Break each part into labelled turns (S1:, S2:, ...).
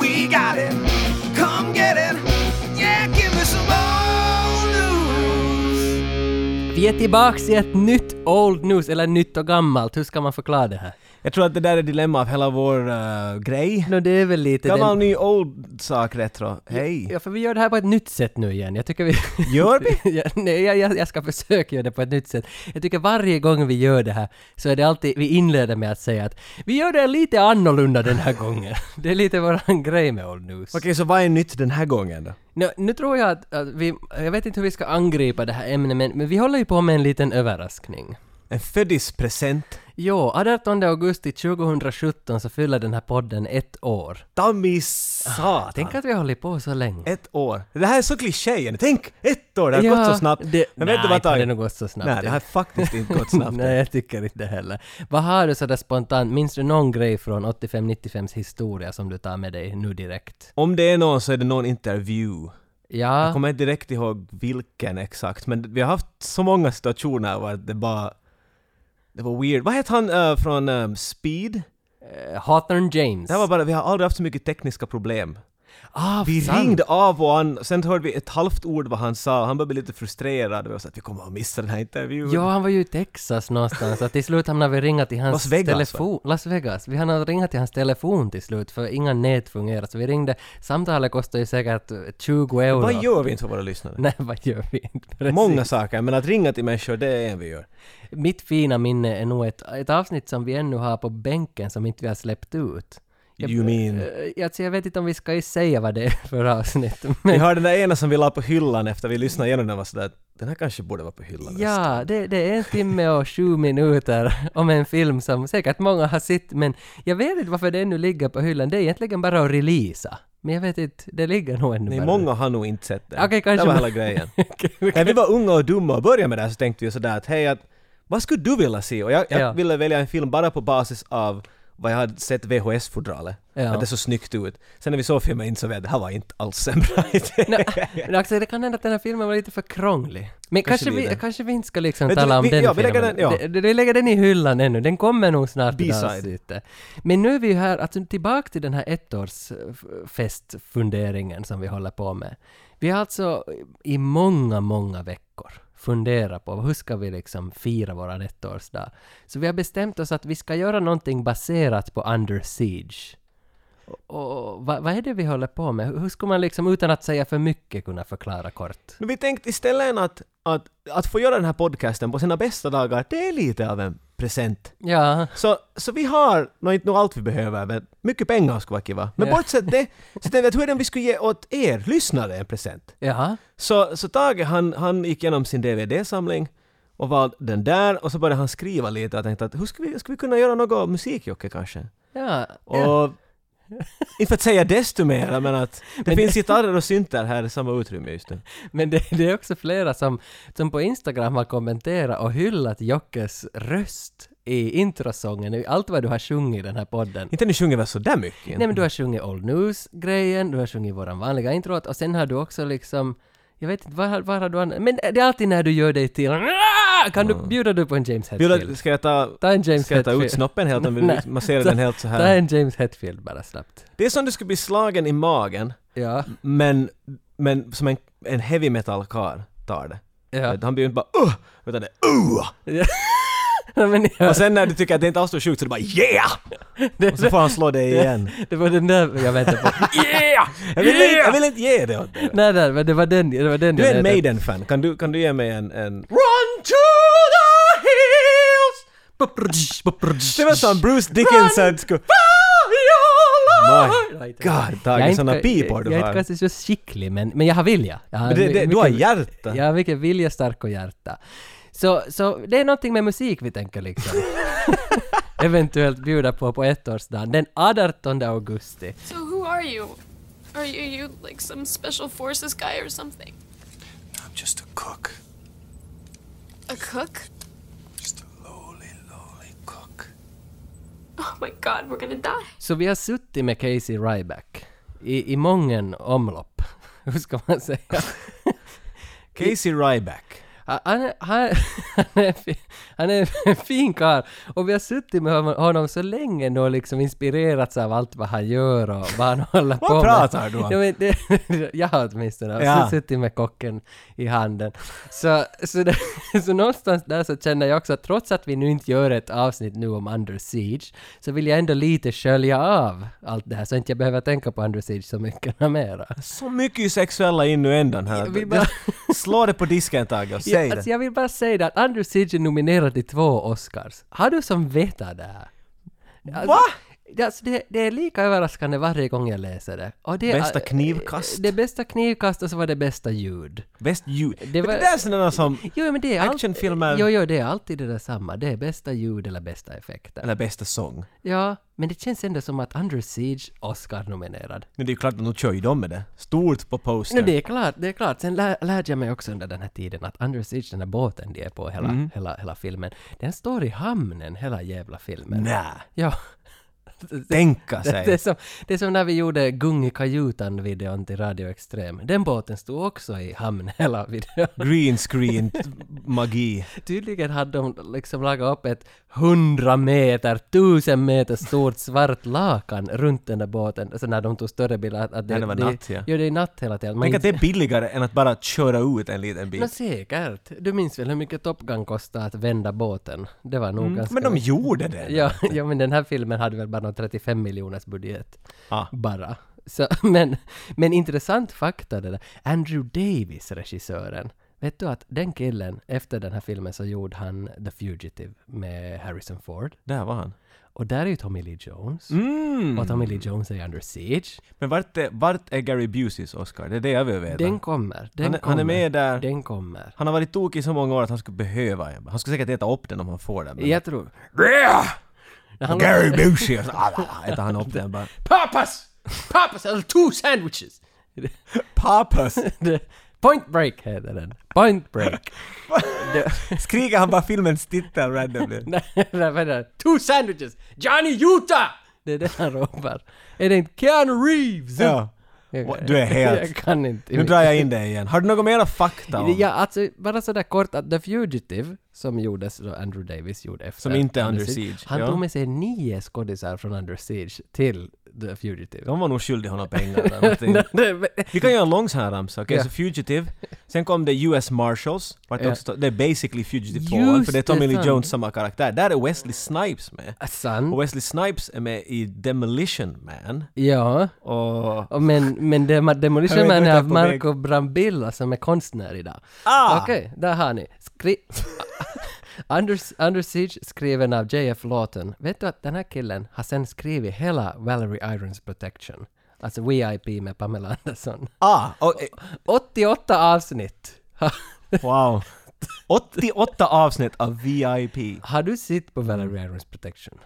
S1: We got it. Come get it. Yeah, give me some old news.
S2: Vi är tillbaks i ett nytt Old News, eller nytt och gammalt. Hur ska man förklara det här?
S3: Jag tror att det där är dilemma av hela vår eh, grej.
S2: Nå, det är väl lite...
S3: Gammal,
S2: den...
S3: ny, old sak retro. Hej!
S2: Ja, för vi gör det här på ett nytt sätt nu igen. Jag tycker vi...
S3: Gör vi?
S2: Ja, Nej, jag, jag, jag ska försöka göra det på ett nytt sätt. Jag tycker varje gång vi gör det här så är det alltid, vi inleder med att säga att vi gör det lite annorlunda den här gången. Det är lite våran grej med Old News.
S3: Okej, så vad är nytt den här gången då?
S2: Nu, nu tror jag att, att vi, jag vet inte hur vi ska angripa det här ämnet men, men vi håller ju på med en liten överraskning.
S3: En födispresent.
S2: Jo, 18 augusti 2017 så fyller den här podden ett år.
S3: Ta mig satan!
S2: Tänk att vi har hållit på så länge.
S3: Ah, Ett år. Det här är så kliché Tänk! Ett år! Det har gått så snabbt.
S2: Det,
S3: Men
S2: nej,
S3: vet du vad
S2: inte har det
S3: Tage?
S2: nog gått så snabbt.
S3: Nej, det har faktiskt inte gått snabbt.
S2: Nej, jag tycker inte heller. Vad har du sådär spontant, minns du någon grej från 85-95s historia som du tar med dig nu direkt?
S3: Om det är någon så är det någon intervju. Jag
S2: Ja,
S3: kommer inte direkt ihåg vilken exakt, men vi har haft så många situationer var det bara... Det var weird. Vad heter han eh, från eh, Speed?
S2: eh, Hawthorne James.
S3: Det här var bara, vi har aldrig haft så mycket tekniska problem.
S2: ah,
S3: Vi
S2: sant.
S3: ringde av och an, sen hörde vi ett halvt ord vad han sa, han började bli lite frustrerad och jag sa att vi kommer att missa den här intervjun.
S2: Ja, han var ju i Texas någonstans och till slut hamnade vi ringa till hans
S3: Las Vegas,
S2: telefon. Las Vegas. Vi hann ringa till hans telefon till slut för inga nät fungerar. Så vi ringde. Samtalet kostade ju säkert eh, 20 euro.
S3: Vad gör vi inte för våra lyssnare?
S2: Nej, vad gör vi inte? Precis.
S3: Många saker, men att ringa till människor, det är en vi gör.
S2: Mitt fina minne är nog ett, ett avsnitt som vi ännu har på bänken som inte vi har släppt ut.
S3: You mean...
S2: Eh, Alltså jag vet inte om vi ska ju säga vad det är för avsnitt. Men
S3: Vi har den där ena som vi la på hyllan efter vi lyssnade igenom den var sådär att den här kanske borde vara på hyllan.
S2: ja, det, det är en timme och sju minuter om en film som säkert många har sett men jag vet inte varför det ännu ligger på hyllan. Det är egentligen bara att releasa. Men jag vet inte, det ligger nog ännu
S3: Nej,
S2: bara.
S3: många har nog inte sett den.
S2: Okej,
S3: Det var
S2: kanske man-
S3: hela grejen.
S2: Okej, okej.
S3: När vi var unga och dumma och började med det här så tänkte vi sådär att hej, att, vad skulle du vilja se? Och jag, jag
S2: Ja.
S3: ville välja en film bara på basis av vad jag hade sett VHS-fodralet.
S2: Ja.
S3: Att det såg snyggt ut. Sen när vi såg filmen insåg vi att det här var inte alls en bra idé.
S2: Nå, Men alltså, det kan hända att den här filmen var lite för krånglig. Men
S3: Kanske
S2: kanske,
S3: lite.
S2: vi, kanske vi inte ska liksom
S3: Men du,
S2: tala om
S3: vi-
S2: den
S3: ja, vi lägger
S2: filmen.
S3: den- ja.
S2: Det- det- Vi lägger den i hyllan ännu, den kommer nog snart till
S3: B-side.
S2: avsnittet. Men nu är vi ju här, alltså tillbaka till den här ettårsfestfunderingen som vi håller på med. Vi har alltså i många, många veckor funderat på hur ska vi liksom fira våran ettårsdag. Så vi har bestämt oss att vi ska göra någonting baserat på Under Siege. Och vad, vad är det vi håller på med? Hur hur skulle man liksom utan att säga för mycket kunna förklara kort?
S3: Men vi tänkte istället än att, att, att få göra den här podcasten på sina bästa dagar, det är lite av en present.
S2: Ja,
S3: Så, så vi har, nå inte nog allt vi behöver, men mycket pengar skulle vara kiva. Men
S2: Ja.
S3: bortsett det, så tänkte jag att hur är det om vi skulle ge åt er lyssnare en present?
S2: jaha.
S3: Så, så Tage han, han gick igenom sin DVD-samling och valde den där och så började han skriva lite och tänkte att hur ska vi, ska vi kunna göra något musikjocke kanske?
S2: Ja,
S3: Och inte för att säga desto mer, men att det finns gitarrer och syntar här i samma utrymme just nu.
S2: men det, det är också flera som, som på Instagram har kommenterat och hyllat Jockes röst i introsången, i allt vad du har sjungit i den här podden.
S3: Inte nu sjunger vi sådär mycket.
S2: Nej men du har sjungit Old News-grejen, du har sjungit våran vanliga introlåt och sen har du också liksom, jag vet inte, var, har- var har du an- Men det är alltid när du gör dig till Kan du, bjuda du på en James Hetfield?
S3: Vill, ska jag ta,
S2: Ta en James
S3: ska jag ta ut
S2: Hetfield.
S3: snoppen helt om vi
S2: Nej.
S3: masserar
S2: Ta-
S3: den helt så
S2: Ta
S3: här?
S2: en James Hetfield bara snabbt.
S3: Det är som du skulle bli slagen i magen,
S2: Ja,
S3: men, men som en, en heavy metal-karl tar det.
S2: ja.
S3: Han blir ju inte bara uh, utan det är uh!
S2: Ja, men ja,
S3: Mm. Och sen när du tycker att det inte alls är sjukt så är det bara yeah! Och så får han slå dig igen.
S2: det var den där jag väntade på.
S3: Yeah! Jag vill, inte, jag vill inte ge det åt dig.
S2: nej, nej, men det var den, det var den
S3: Du
S2: jag
S3: är en
S2: letade-
S3: Maiden-fan. Kan du, kan du ge mig en... en...
S2: Run to the hills! Bup-brudsch, bup-brudsch.
S3: Det var som Bruce Dickinson skulle... My
S2: Nej, inte.
S3: God,
S2: Jag är
S3: Tage,
S2: inte-
S3: såna pipor du
S2: Jag är
S3: har.
S2: inte kanske så skicklig, men, men jag har vilja. Jag
S3: Men det, det, du har hjärta.
S2: Jag har mycket vilja, stark och hjärta. Så, så det är någonting med musik vi tänker liksom. Eventuellt bjuda på på ettårsdagen, den 18 augusti.
S4: So who are you? Are you, you like some special forces guy or something?
S5: I'm just a cook.
S4: A cook?
S5: Just a lowly, lowly cook.
S4: Oh my god, we're gonna die.
S2: Så vi har suttit med Casey Ryback i, i mången omlopp. Hur ska man säga?
S3: Casey Ryback.
S2: Han, han, är- han, han, är, fi- han är en fin karl och vi har suttit med hon- honom så länge nu och liksom inspirerats av allt vad han gör och vad han håller på
S3: Vad
S2: med.
S3: pratar du om?
S2: Ja, men det, jag har åtminstone
S3: Ja.
S2: ja. suttit med kocken i handen. Så, så, det, så någonstans där så känner jag också att trots att vi nu inte gör ett avsnitt nu om Under Siege så vill jag ändå lite skölja av allt det här så inte jag behöver tänka på Under Siege så mycket mera.
S3: Så mycket sexuella innuendon här.
S2: Vi bara-
S3: Slå det på disken ett tag och säg
S2: Ja, alltså
S3: det.
S2: jag vill bara säga det att Under Siege är nominerad till två Oscars. Har du som vetat det här? Alltså,
S3: Va?
S2: det- Alltså det, det är lika överraskande varje gång jag läser det. Och det äh,
S3: Bästa knivkast?
S2: Det bästa knivkast och så var det bästa ljud.
S3: Bäst ljud. Det,
S2: var-
S3: det där är sådana som...
S2: Jo, men det är
S3: Actionfilmer.
S2: Alltid, jo, jo, det är alltid det där samma. Det är bästa ljud eller bästa effekter.
S3: Eller bästa sång.
S2: Ja, men det känns ändå som att Under Siege Oscar-nominerad.
S3: Men det är ju klart att de kör ju dem med det. Stort på
S2: Nej,
S3: poster.
S2: det är klart, det är klart. Sen lär, lärde jag mig också under den här tiden att Under Siege, den här båten de är på hela,
S3: Mm.
S2: hela, hela filmen, den står i hamnen hela jävla filmen.
S3: Nä.
S2: Ja.
S3: Tänka
S2: Det, det, är
S3: sig.
S2: som, det är som när vi gjorde Gung i kajutan-videon till Radio Extrem. Den båten stod också i hamn hela videon.
S3: Green screen t- magi.
S2: Tydligen hade de liksom lagat upp ett 100 meter, 1000 meter stort svart lakan runt den där båten. Alltså när de tog större bilder. Att, att
S3: Ja, det var natt, ja.
S2: ja. det är natt hela tiden. Man
S3: Tänk att det
S2: inte-
S3: är billigare än att bara köra ut en liten
S2: Nå
S3: bit.
S2: säkert. Du minns väl hur mycket Top Gun kostade att vända båten? Det var nog ganska...
S3: Mm, Men de gjorde det.
S2: ja, ja, men den här filmen hade väl bara någon 35 miljoners budget.
S3: Ah.
S2: Bara. Så, men, men intressant fakta det där. Andrew Davis, regissören. Vet du att den killen, efter den här filmen så gjorde han The Fugitive med Harrison Ford.
S3: Där var han.
S2: Och där är ju Tommy Lee Jones.
S3: Mm.
S2: Och Tommy Lee Jones är under siege.
S3: Men vart är, vart är Gary Buseys Oscar? Det är det jag vill veta.
S2: Den kommer. Den
S3: han, är-
S2: kommer.
S3: han är med där.
S2: Den kommer.
S3: Han har varit tokig i så många år att han skulle behöva en. Han skulle säkert äta upp den om han får den. men-
S2: Jag tror... När han-
S3: Gary Busey! Och så ah, ah, äter han upp den bara.
S2: Papas! Papas eller two sandwiches!
S3: Papas!
S2: Det- Point break heter den. Point break.
S3: Skriker han bara filmens titel randomly?
S2: Nej, nej, vänta. two sandwiches! Johnny Utah! Det är det han ropar. Är det inte Keanu Reeves?
S3: ja.
S2: Jag-
S3: Du är helt-
S2: Jag kan inte.
S3: Nu drar jag in dig igen. Har du något mera fakta om?
S2: Ja, alltså bara sådär kort att The Fugitive, som gjordes då Andrew Davis gjorde efter
S3: Som inte är Under Siege,
S2: Han
S3: ja.
S2: tog med sig nio skådisar från Under Siege till The Fugitive.
S3: De var nog skyldiga honom pengar eller någonting. Vi kan göra en lång sån här ramsa. Okej,
S2: Ja.
S3: så Fugitive. Sen kom det US Marshals. Vart
S2: Ja.
S3: också, ta- det är basically Fugitive
S2: Just
S3: 2 för det är Tommy
S2: det,
S3: Lee
S2: sant.
S3: Jones samma karaktär. Där är Wesley Snipes med.
S2: Sant.
S3: Och Wesley Snipes är med i Demolition Man.
S2: Ja.
S3: Och...
S2: Och Men, men Dem-
S3: Jag
S2: Demolition
S3: vet
S2: Man
S3: inte
S2: är av
S3: på väg.
S2: Marco Brambilla som är konstnär idag.
S3: Ah!
S2: Okej, där har ni. Skri Under, Under Siege skriven av J.F. Lawton. Vet du att den här killen har sen skrivit hela Valerie Irons Protection? Alltså VIP med Pamela Anderson.
S3: Ah! Och, eh,
S2: 88 avsnitt! Ha-
S3: wow. 88 avsnitt av VIP.
S2: har du sett på
S3: Mm.
S2: Valerie Irons Protection?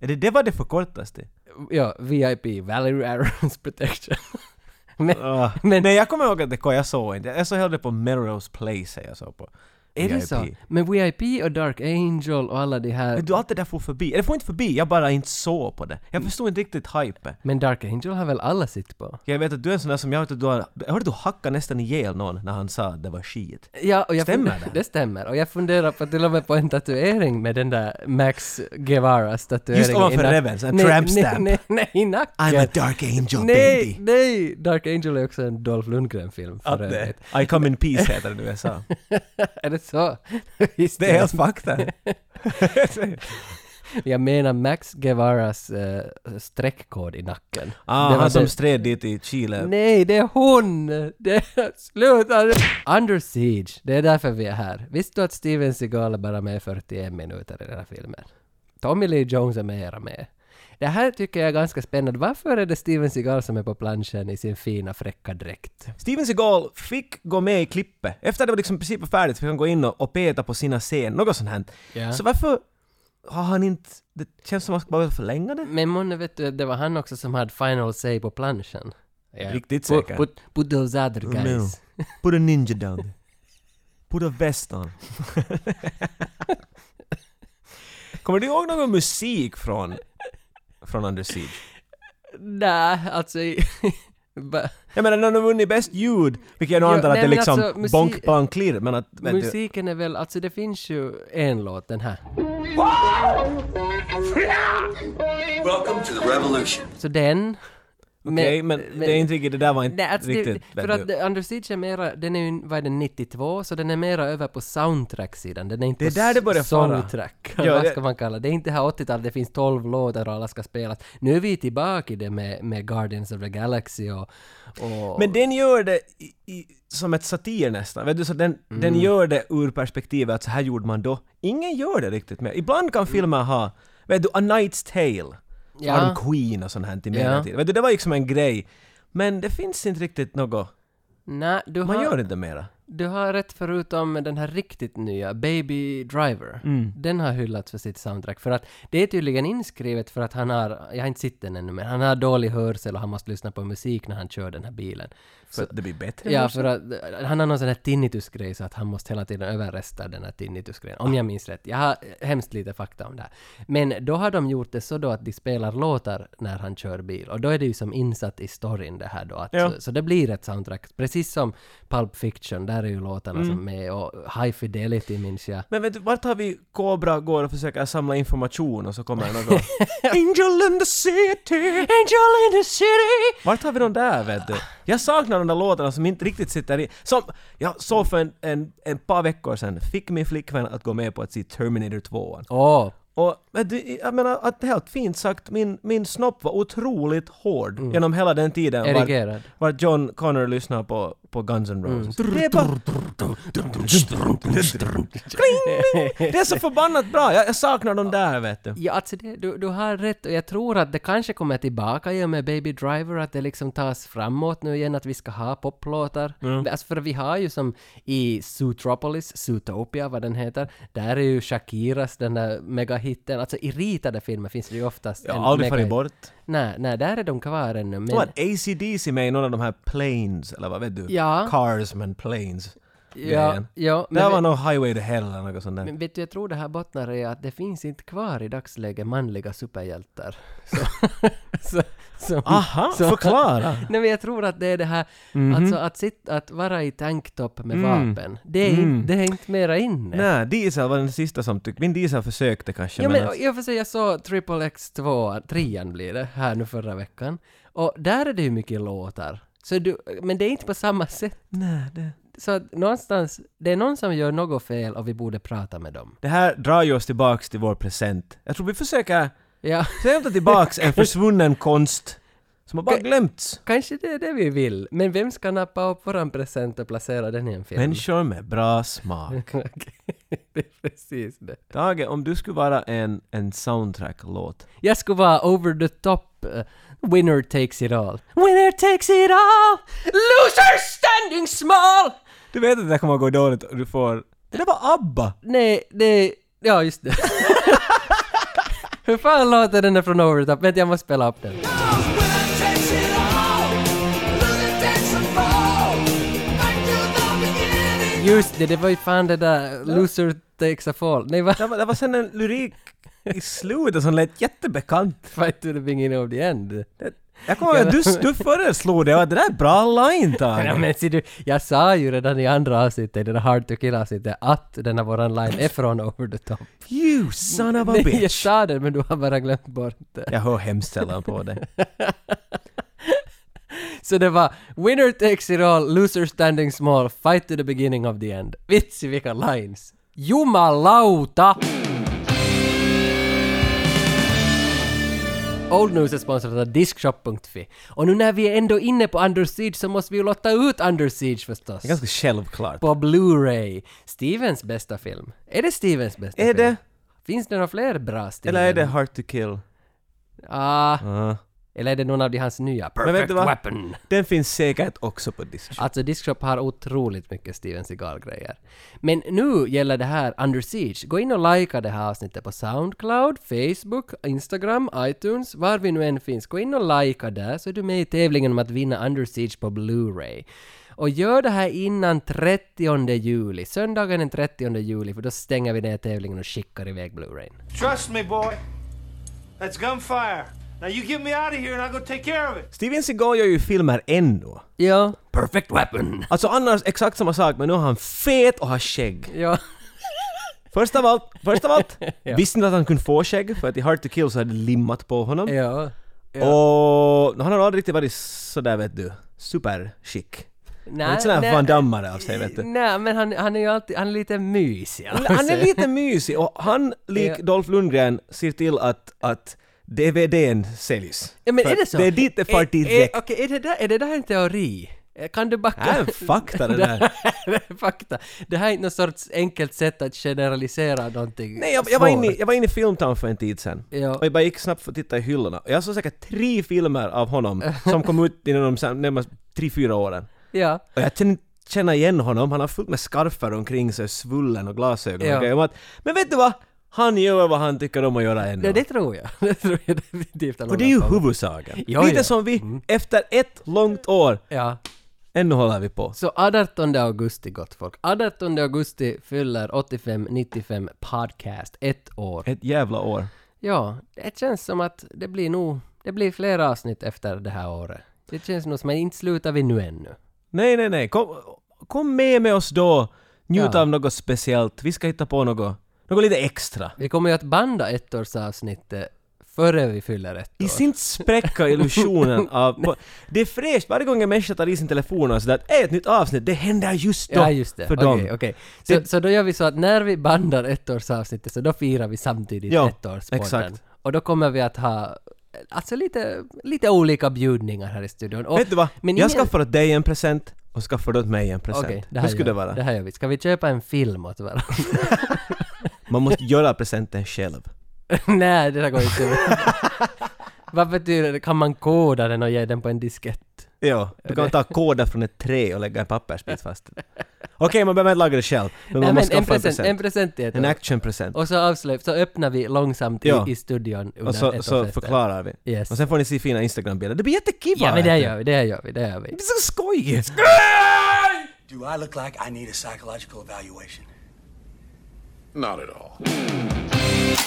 S3: Är det, det var det förkortas till?
S2: Ja, VIP, Valerie Irons Protection. men,
S3: Ah.
S2: men
S3: Nej, jag kommer ihåg att det kom, jag såg inte. Jag såg hellre på Melrose Place jag såg på.
S2: är det
S3: VIP.
S2: så? Men VIP och Dark Angel och alla de här...
S3: Men du, allt det där får förbi. Eller får inte förbi, jag bara inte såg på det. Jag förstod inte riktigt hype.
S2: Men Dark Angel har väl alla sitt på?
S3: Jag vet att du är en sån där som jag vet att du har... Jag hörde att du hackade nästan ihjäl någon när han sa att det var skit.
S2: Ja, och jag
S3: Stämmer
S2: funderar-
S3: det?
S2: Det stämmer. Och jag funderar på till och med på en tatuering med den där Max Guevaras tatuering.
S3: Just ovanför
S2: i nack-
S3: revven, så en
S2: Nej,
S3: tramp
S2: nej,
S3: stamp.
S2: Nej, nej, i nacken.
S3: I'm a dark angel
S2: nej,
S3: baby.
S2: nej! Dark Angel är också en Dolph Lundgren-film för
S3: Att det,
S2: övrigt.
S3: I come in peace heter det i USA.
S2: är det så?
S3: Det är helt fakta.
S2: Jag menar Max Guevaras eh, streckkod i nacken.
S3: Ah,
S2: Det var
S3: han som
S2: det-
S3: stred dit i Chile.
S2: Nej, det är hon! Det är... Sluta nu! Under Siege, det är därför vi är här. Visste du att Steven Seagal är bara med i 41 minuter i den här filmen? Tommy Lee Jones är mera med. Det här tycker jag är ganska spännande. Varför är det Steven Seagal som är på planschen i sin fina fräcka dräkt?
S3: Steven Seagal fick gå med i klippet. Efter det var liksom i princip färdigt fick han gå in och, och peta på sina scener, något sånt här.
S2: Ja.
S3: Så varför har han inte... Det känns som att man ska bara förlänga det.
S2: Men månne vet du att det var han också som hade final say på planschen? Ja.
S3: Riktigt
S2: Put-
S3: säkert.
S2: Put, put those other
S3: no.
S2: guys.
S3: Put a ninja down there. Put a vest on. Kommer du ihåg någon musik från, från Under Siege?
S2: Nej, alltså... Va-
S3: Jag menar, när de vunnit bäst ljud, vilket jag nog
S2: Ja,
S3: antar att
S2: nej,
S3: det är
S2: men
S3: liksom
S2: alltså, musik-
S3: bonk, bonk, klirr, men att... vet du-
S2: Musiken är väl, alltså det finns ju en låt, den här.
S6: Welcome to the revolution.
S2: Så den...
S3: Okej, men, det är inte riktigt, det där var inte
S2: Nej, alltså
S3: riktigt...
S2: det, för
S3: vet
S2: att
S3: du.
S2: det- Under Siege är mera, den är ju, vad är den, 92, så den är mera över på soundtrack-sidan. Den är inte
S3: Det är
S2: på
S3: där det
S2: s-
S3: börjar fara.
S2: songtrack,
S3: Ja,
S2: vad
S3: det-
S2: ska man kalla det? Det är inte här 80-talet, det finns 12 låtar och alla ska spelas. Nu är vi tillbaka i det med, med Guardians of the Galaxy och... och
S3: Men den gör det i, i, som ett satir nästan, vet du? Så den,
S2: Mm.
S3: den gör det ur perspektivet att så här gjorde man då. Ingen gör det riktigt mer. Ibland
S2: Mm.
S3: kan filmer ha, vet du, A Knight's Tale,
S2: Ja.
S3: ja. Arm Queen och sånt här till
S2: Ja.
S3: ja. Vet du, det var liksom en grej. Men det finns inte riktigt något,
S2: nej, du
S3: man
S2: har,
S3: gör inte mera.
S2: du har rätt förutom den här riktigt nya, Baby Driver. Den har hyllats för sitt soundtrack, för att det är tydligen inskrivet för att han har, jag har inte sett den ännu, men han har dålig hörsel och han måste lyssna på musik när han kör den här bilen.
S3: För att det blir bättre.
S2: Ja,
S3: måste-
S2: för att eh, han har någon sån här tinnitusgrej så att han måste hela tiden överresta den här tinnitusgrejen. Om jag minns rätt. Jag har eh, hemskt lite fakta om det här. Men då har de gjort det så då att de spelar låtar när han kör bil. Och då är det ju som insatt i storyn det här då. Att,
S3: Ja.
S2: så, så det blir ett soundtrack. Precis som Pulp Fiction, där är ju låtarna
S3: Mm.
S2: som är med. Och High Fidelity minns jag.
S3: Men vet du, vart har vi Kobra går och försöker samla information och så kommer något Angel in the city!
S2: Angel in the city!
S3: Vart har vi de där vet du? Jag saknar de där låtarna som inte riktigt sitter i. Som, jag såg för en, en, en par veckor sedan, fick min flickvän att gå med på att se Terminator 2.
S2: Åh,
S3: Och vet du, jag menar, att helt fint sagt, min, min snopp var otroligt hård
S2: Mm.
S3: genom hela den tiden. Var,
S2: erigerad.
S3: var John Connor lyssnade på, på Guns N' Roses.
S2: Mm.
S3: Det är bara... Det är så förbannat bra! Jag, jag saknar de där vet du.
S2: Ja, alltså det, du, du har rätt och jag tror att det kanske kommer tillbaka i och med Baby Driver, att det liksom tas framåt nu igen, att vi ska ha poplåtar. Alltså för vi har ju som i Zootropolis, Zootopia, vad den heter, där är ju Shakiras den där megahitten. Alltså i ritade filmer finns det ju oftast
S3: Jag har aldrig farit
S2: megahit.
S3: bort.
S2: Nej, nej, där är de kvar ännu. Men,
S3: Det var ACDC med i någon av de här planes, eller vad vet du?
S2: Ja.
S3: Cars men planes.
S2: ja,
S3: grejen.
S2: ja,
S3: Det här
S2: men,
S3: var
S2: vet,
S3: nog Highway to Hell eller något sånt där.
S2: men vet du, jag tror det här bottnar i att det finns inte kvar i dagsläget manliga superhjältar. Så, så, som-
S3: Aha,
S2: så-
S3: förklara! Mhm. Mm-hmm.
S2: Nej men jag tror att det är det här, alltså att, sitta, att vara i tanktop med vapen, det är, inte, det är inte mera inne.
S3: Mm. Nej, Diesel var den sista som tyckte... Min Diesel försökte kanske
S2: Ja,
S3: men...
S2: men, jag får säga, jag såg Triple X2, trean blir det, här nu förra veckan. Och där är det ju mycket låtar. Så du, men det är inte på samma sätt.
S3: nej, det...
S2: Så att någonstans, det är någon som gör något fel och vi borde prata med dem.
S3: det här drar ju oss tillbaks till vår present. Jag tror vi försöker
S2: Ja,
S3: hämta tillbaks en försvunnen konst som har bara glömts.
S2: kanske det är det vi vill. Men vem ska nappa upp våran present och placera den i en film?
S3: Människor med bra smak.
S2: Okej, det är precis det.
S3: Tage, om du skulle vara en, en soundtrack-låt,
S2: Jag skulle vara over the top. eh, winner takes it all. Winner takes it all! Loser standing small!
S3: Du vet att det där kommer att gå dåligt och du får... Det där var ABBA!
S2: Nej, det... Ja, just det. Hur fan låter den där från over the top? Vänta, jag måste spela upp den. Just det, det var ju fan det där loser takes a fall. Nej, vad
S3: Det var, det var sen en lyrik i slutet som lät jättebekant.
S2: Fight to the beginning of the end.
S3: Jag kommer ihåg att du, du föreslog det och att det där är bra line
S2: Ja,
S3: Tage.
S2: men ser du, jag sa ju redan i andra avsnittet, i det där Hard to kill avsnittet, att den här våran line är från over the top.
S3: You son of a
S2: Nej, jag
S3: bitch!
S2: sa det, men du har bara glömt bort det.
S3: Jag hör hemskt sällan på dig.
S2: Så det var “Winner takes it all, loser standing small, fight to the beginning of the end”. Vitsi vilka lines! Jumalauta! Old News är sponsrat av Diskshop.fi. Och nu när vi är ändå inne på Under Siege så måste vi ju lotta ut Under Siege förstås.
S3: Det är ganska självklart.
S2: På Blu-ray. Stevens bästa film. Är det Stevens bästa
S3: Är
S2: film?
S3: det?
S2: Finns det några fler bra Steven?
S3: Eller är det Hard to kill?
S2: Ah,
S3: Ja.
S2: eller är det någon av de hans nya?
S3: Men vet
S2: Perfect
S3: du vad?
S2: Weapon!
S3: Den finns säkert också på disk.
S2: Alltså Discshop har otroligt mycket Steven Seagal-grejer. Men nu gäller det här Under Siege. Gå in och likea det här avsnittet på Soundcloud, Facebook, Instagram, iTunes, var vi nu än finns. Gå in och likea där så är du med i tävlingen om att vinna Under Siege på Blu-ray. Och gör det här innan 30 juli, söndagen den 30 juli, för då stänger vi ner tävlingen och skickar iväg Blu-rayn.
S7: Trust me, boy. That's gunfire. Now you get me out of here and I'll go take care of it.
S3: Steven Seagal gör ju filmer ännu.
S2: Ja. Perfect weapon!
S3: Alltså annars exakt samma sak, men nu är han fet och har skägg.
S2: Ja.
S3: Först av allt, först av allt,
S2: Ja.
S3: visste ni att han kunde få skägg? För att i Hard to Kill så hade det limmat på honom.
S2: Ja.
S3: Och han har aldrig riktigt varit sådär vet du, superchic. Han är
S2: Nej,
S3: inte sån här
S2: nej.
S3: Van Dammare av sig vet du.
S2: Nej, men han, han är ju alltid, han är lite mysig. eller vad
S3: Han
S2: man
S3: är
S2: säger.
S3: lite mysig och han, lik
S2: Ja.
S3: Dolph Lundgren, ser till att, att DVDn säljs.
S2: Ja, men
S3: För
S2: är det
S3: att
S2: så?
S3: Det är dit det far
S2: Är- är-
S3: direkt.
S2: Okej, är det där- är det där en teori? Eh, Kan du backa?
S3: Nej, Äh, fakta det där.
S2: det är fakta. Det här är inte något sorts enkelt sätt att generalisera någonting
S3: Nej, jag, jag, var inne, i-
S2: svårt.
S3: jag var inne i Filmtown för en tid sedan.
S2: Ja.
S3: Och jag bara gick snabbt för att titta i hyllorna. Och jag såg säkert tre filmer av honom som kom ut inom de sam- närmast tre, fyra åren.
S2: Ja.
S3: Och jag känner känna igen honom, han har fullt med skarfar omkring sig, svullen och glasögon
S2: Ja.
S3: och grejer. Men att- Men vet du vad? Han gör vad han tycker om att göra ändå.
S2: Det, det tror jag. Det tror jag definitivt.
S3: och det är ju huvudsaken.
S2: Ja, Mm.
S3: Lite
S2: ja.
S3: som vi, efter ett långt år,
S2: Ja.
S3: ännu håller vi på.
S2: Så 18 augusti, gott folk. 18 augusti fyller 85-95 podcast ett år.
S3: Ett jävla år.
S2: Ja, det känns som att det blir nog... Det blir flera avsnitt efter det här året. Det känns nog som att inte slutar vi nu ännu.
S3: Nej, nej, nej. Kom, kom med med oss då. Njut
S2: Ja.
S3: av något speciellt. Vi ska hitta på något, något lite extra.
S2: Vi kommer ju att banda ettårsavsnittet eh, före vi fyller ett
S3: I
S2: år.
S3: sin spräcka illusionen av... på- Det är fräscht varje gång en människa tar i sin telefon och sådär att "Äh, ett nytt avsnitt, det händer just då
S2: Ja, just det.
S3: för
S2: okej,
S3: dem.
S2: okej. Så, så då gör vi så att när vi bandar ettårsavsnittet så då firar vi samtidigt
S3: Ja,
S2: ettårspodden.
S3: exakt.
S2: Och då kommer vi att ha alltså lite, lite olika bjudningar här i studion. Och,
S3: Vet du vad?
S2: Men
S3: jag
S2: ingen-
S3: skaffar åt dig en present och skaffar åt mig en present.
S2: Okej,
S3: Hur skulle
S2: gör,
S3: det vara?
S2: Det här gör vi. Ska vi köpa en film åt varandra?
S3: Man måste göra presenten själv.
S2: Nej, det där går inte. Vad betyder det? Kan man koda den och ge den på en diskett?
S3: Ja, du kan ta koder från ett trä och lägga en pappersbit fast. Okej, man behöver inte laga det själv. Men man
S2: Nej,
S3: måste
S2: en
S3: skaffa en
S2: present, en
S3: present.
S2: present i ett
S3: En
S2: år.
S3: actionpresent.
S2: Och så avslöjar så öppnar vi långsamt
S3: Ja.
S2: i, i studion under
S3: Och så, så
S2: ettårsfesten.
S3: förklarar vi.
S2: Yes.
S3: Och sen får ni se fina Instagram-bilder. Det blir jättekiva!
S2: Ja, men det
S3: vet du.
S2: gör vi, det gör vi, det gör vi.
S3: Det blir så skojigt!
S5: Do I look like I need a psychological evaluation?
S8: Not at all.